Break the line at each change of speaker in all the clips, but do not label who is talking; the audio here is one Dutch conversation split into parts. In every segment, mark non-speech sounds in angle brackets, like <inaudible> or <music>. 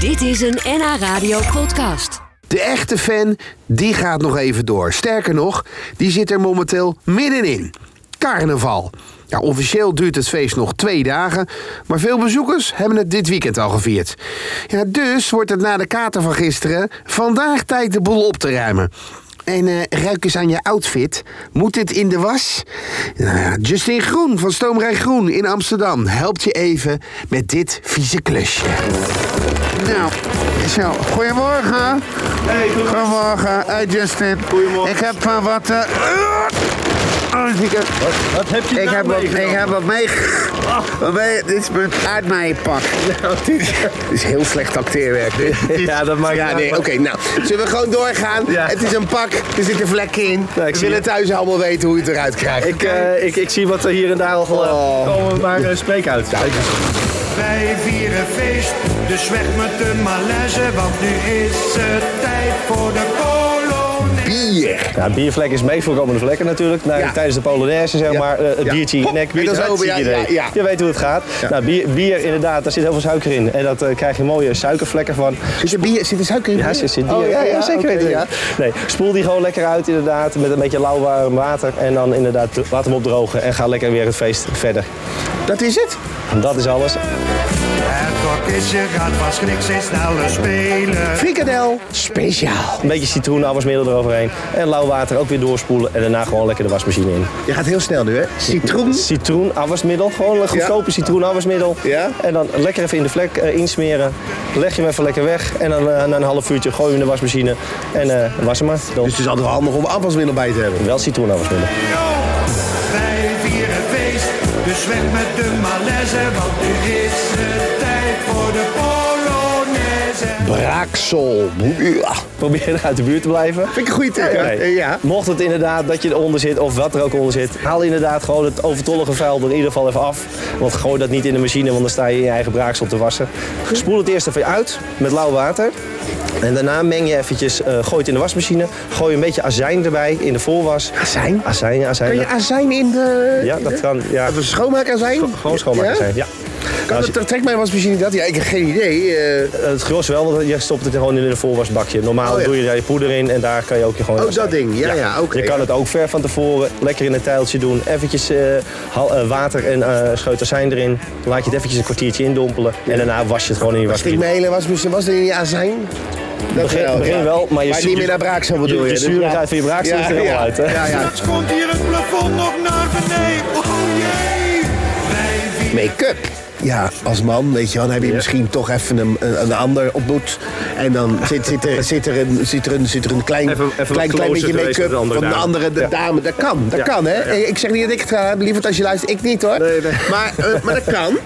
Dit is een NH Radio podcast.
De echte fan, die gaat nog even door. Sterker nog, die zit er momenteel middenin. Carnaval. Ja, officieel duurt het feest nog twee dagen, maar veel bezoekers hebben het dit weekend al gevierd. Ja, dus wordt het na de kater van gisteren vandaag tijd de boel op te ruimen. En eh, ruik eens aan je outfit. Moet dit in de was? Nou ja, Justin Groen van Stoomrijk Groen in Amsterdam helpt je even met dit vieze klusje. Nou, zo. Goedemorgen.
Hey, goed.
Goedemorgen, hey Justin.
Goedemorgen.
Ik heb eh, wat. eh, oh, ik heb,
Wat heb je
ik
nou
heb wat, ik
meegenomen? Ah.
heb wat mee. wat mee- Dit is mijn uitmaaienpak. <laughs> Nou, Dit is heel slecht acteerwerk. dit.
<laughs> Ja, dat maakt
Ja,
niet
nee, oké,
uit.
nou. Zullen we gewoon doorgaan?
Ja.
Het is een pak, er zitten vlekken in.
Ja, ik
we
zie
willen thuis allemaal weten hoe je het eruit krijgt.
Ik, eh, ik, ik zie wat er hier en daar al
Oh.
eh, komen, maar eh, spreek uit. Spreek uit.
Wij vieren feest, dus weg met de malaise, want nu is het tijd voor de kolonie.
Bier.
Ja, biervlek is meest voorkomende vlekken natuurlijk. Nou,
Ja.
Tijdens de Polonaise, zeg
Ja.
maar, eh, het
Ja.
biertje in je
Hop,
nek, bier
en dat is
eruit,
over,
zie
ja,
iedereen.
ja, ja.
Je weet hoe het gaat. Nou, bier, bier inderdaad, daar zit heel veel suiker in. En daar krijg je mooie suikervlekken van.
Zit er bier, zit er suiker in?
Ja, zit, zit bier.
Oh, ja, ja,
zeker
oké,
weten.
ja.
Nee, spoel die gewoon lekker uit inderdaad, met een beetje lauw warm water. En dan inderdaad, laat hem opdrogen en ga lekker weer het feest verder.
Dat is het?
En dat is alles.
Het orkestje gaat van schrik steeds sneller spelen.
Frikadel speciaal.
Een beetje citroenafwasmiddel eroverheen. En lauw water ook weer doorspoelen. En daarna gewoon lekker de wasmachine in.
Je gaat heel snel nu, hè? Citroen. Dus
Citroenafwasmiddel. Gewoon een goedkope citroenafwasmiddel.
Ja.
En dan lekker even in de vlek eh, insmeren. Leg je hem even lekker weg. En dan eh, na een half uurtje gooi je hem in de wasmachine. En eh, was hem maar. Dan
Dus het is altijd wel handig om afwasmiddel bij te hebben.
wel citroenafwasmiddel.
Wij vieren feest, dus weg met de malaise, want nu is het tijd voor de polonaise.
Braaksel. Ja.
Probeer uit de buurt te blijven.
Vind ik een goede tip, hè?
Nee.
Eh, ja.
Mocht het inderdaad dat je eronder zit of wat er ook onder zit, haal inderdaad gewoon het overtollige vuil er in ieder geval even af. Want gooi dat niet in de machine, want dan sta je in je eigen braaksel te wassen. Spoel het eerst even uit met lauw water. En daarna meng je eventjes, eh, gooi het in de wasmachine. Gooi een beetje azijn erbij in de voorwas.
Azijn?
Azijn, azijn.
Kun je
dat-
azijn in de...
Ja, dat kan, ja.
Even schoonmaakazijn?
Gewoon schoonmaken zijn. Ja. Nou,
Kan
Als je-
dat, dat trekt mij wasmachine dat? Ja, ik heb geen idee. eh.
het gros wel, want je stopt het gewoon in een voorwasbakje. Normaal
Oh, ja.
doe je daar je poeder in en daar kan je ook je gewoon...
Oh, dat ding. Ja, ja, oké.
Je kan het ook ver van tevoren lekker in een tijltje doen. Eventjes eh, hal- eh, water en eh scheut azijn erin. Laat je het eventjes een kwartiertje indompelen. En daarna was je het gewoon in je
Stinkt
wasmachine.
mijn hele wasmachine was er in die azijn? Dat
Begin-
wel,
begin
ja.
wel, maar je
Maar
zuur-
niet meer naar braaksel
je-
bedoel je?
je
dus
zuurigheid
ja.
van je braaksel is er helemaal
ja.
uit, hè?
Ja, ja.
Straks komt hier het plafond nog naar beneden. Oh jee! Wij vieren
Make-up. Ja, als man, weet je wel, dan heb je misschien toch even een, een, een ander opdoet. En dan zit, zit, er, zit, er, een, zit, er, een, zit er een klein,
Even- even wat
klein, klein
closer
beetje
geweest
make-up
met de
van de andere
andere dame.
de
Ja.
dame. Dat kan, dat
Ja.
kan, hè. Ik zeg niet dat ik het ga hebben, liever als je luistert. Ik niet, hoor.
Nee, nee.
Maar, eh, maar dat kan.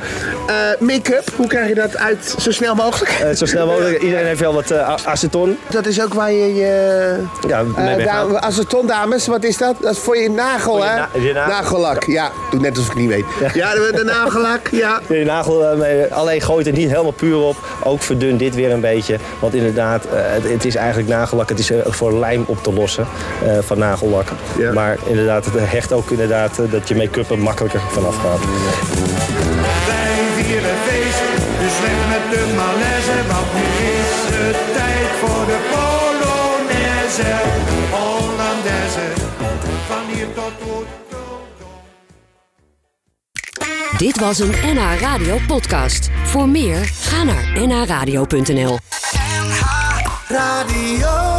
Eh, make-up, hoe krijg je dat uit zo snel mogelijk?
Eh, zo snel mogelijk. Iedereen heeft wel wat eh, a- aceton.
Dat is ook waar je je...
Ja, mee
Eh,
weghaalt.
dame- aceton, dames, wat is dat? Dat is voor je nagel,
Voor je
hè?
na- je nagel.
Nagellak, ja. Doe net alsof ik het niet weet. Ja, de, de nagellak, ja.
Je nagel eh, mee. Alleen gooit het niet helemaal puur op. Ook verdun dit weer een beetje. Want inderdaad, eh, het, het is eigenlijk nagellak. Het is eh, voor lijm op te lossen eh, van nagellak.
Ja.
Maar inderdaad, het hecht ook inderdaad eh, dat je make-up er makkelijker vanaf gaat.
Wij vieren feest, dus weg met de malaise, want nu is het tijd voor de Polonaise, Hollandaise, van hier tot Oetel.
Dit was een NH Radio podcast. Voor meer, ga naar nhradio.nl.
Radio.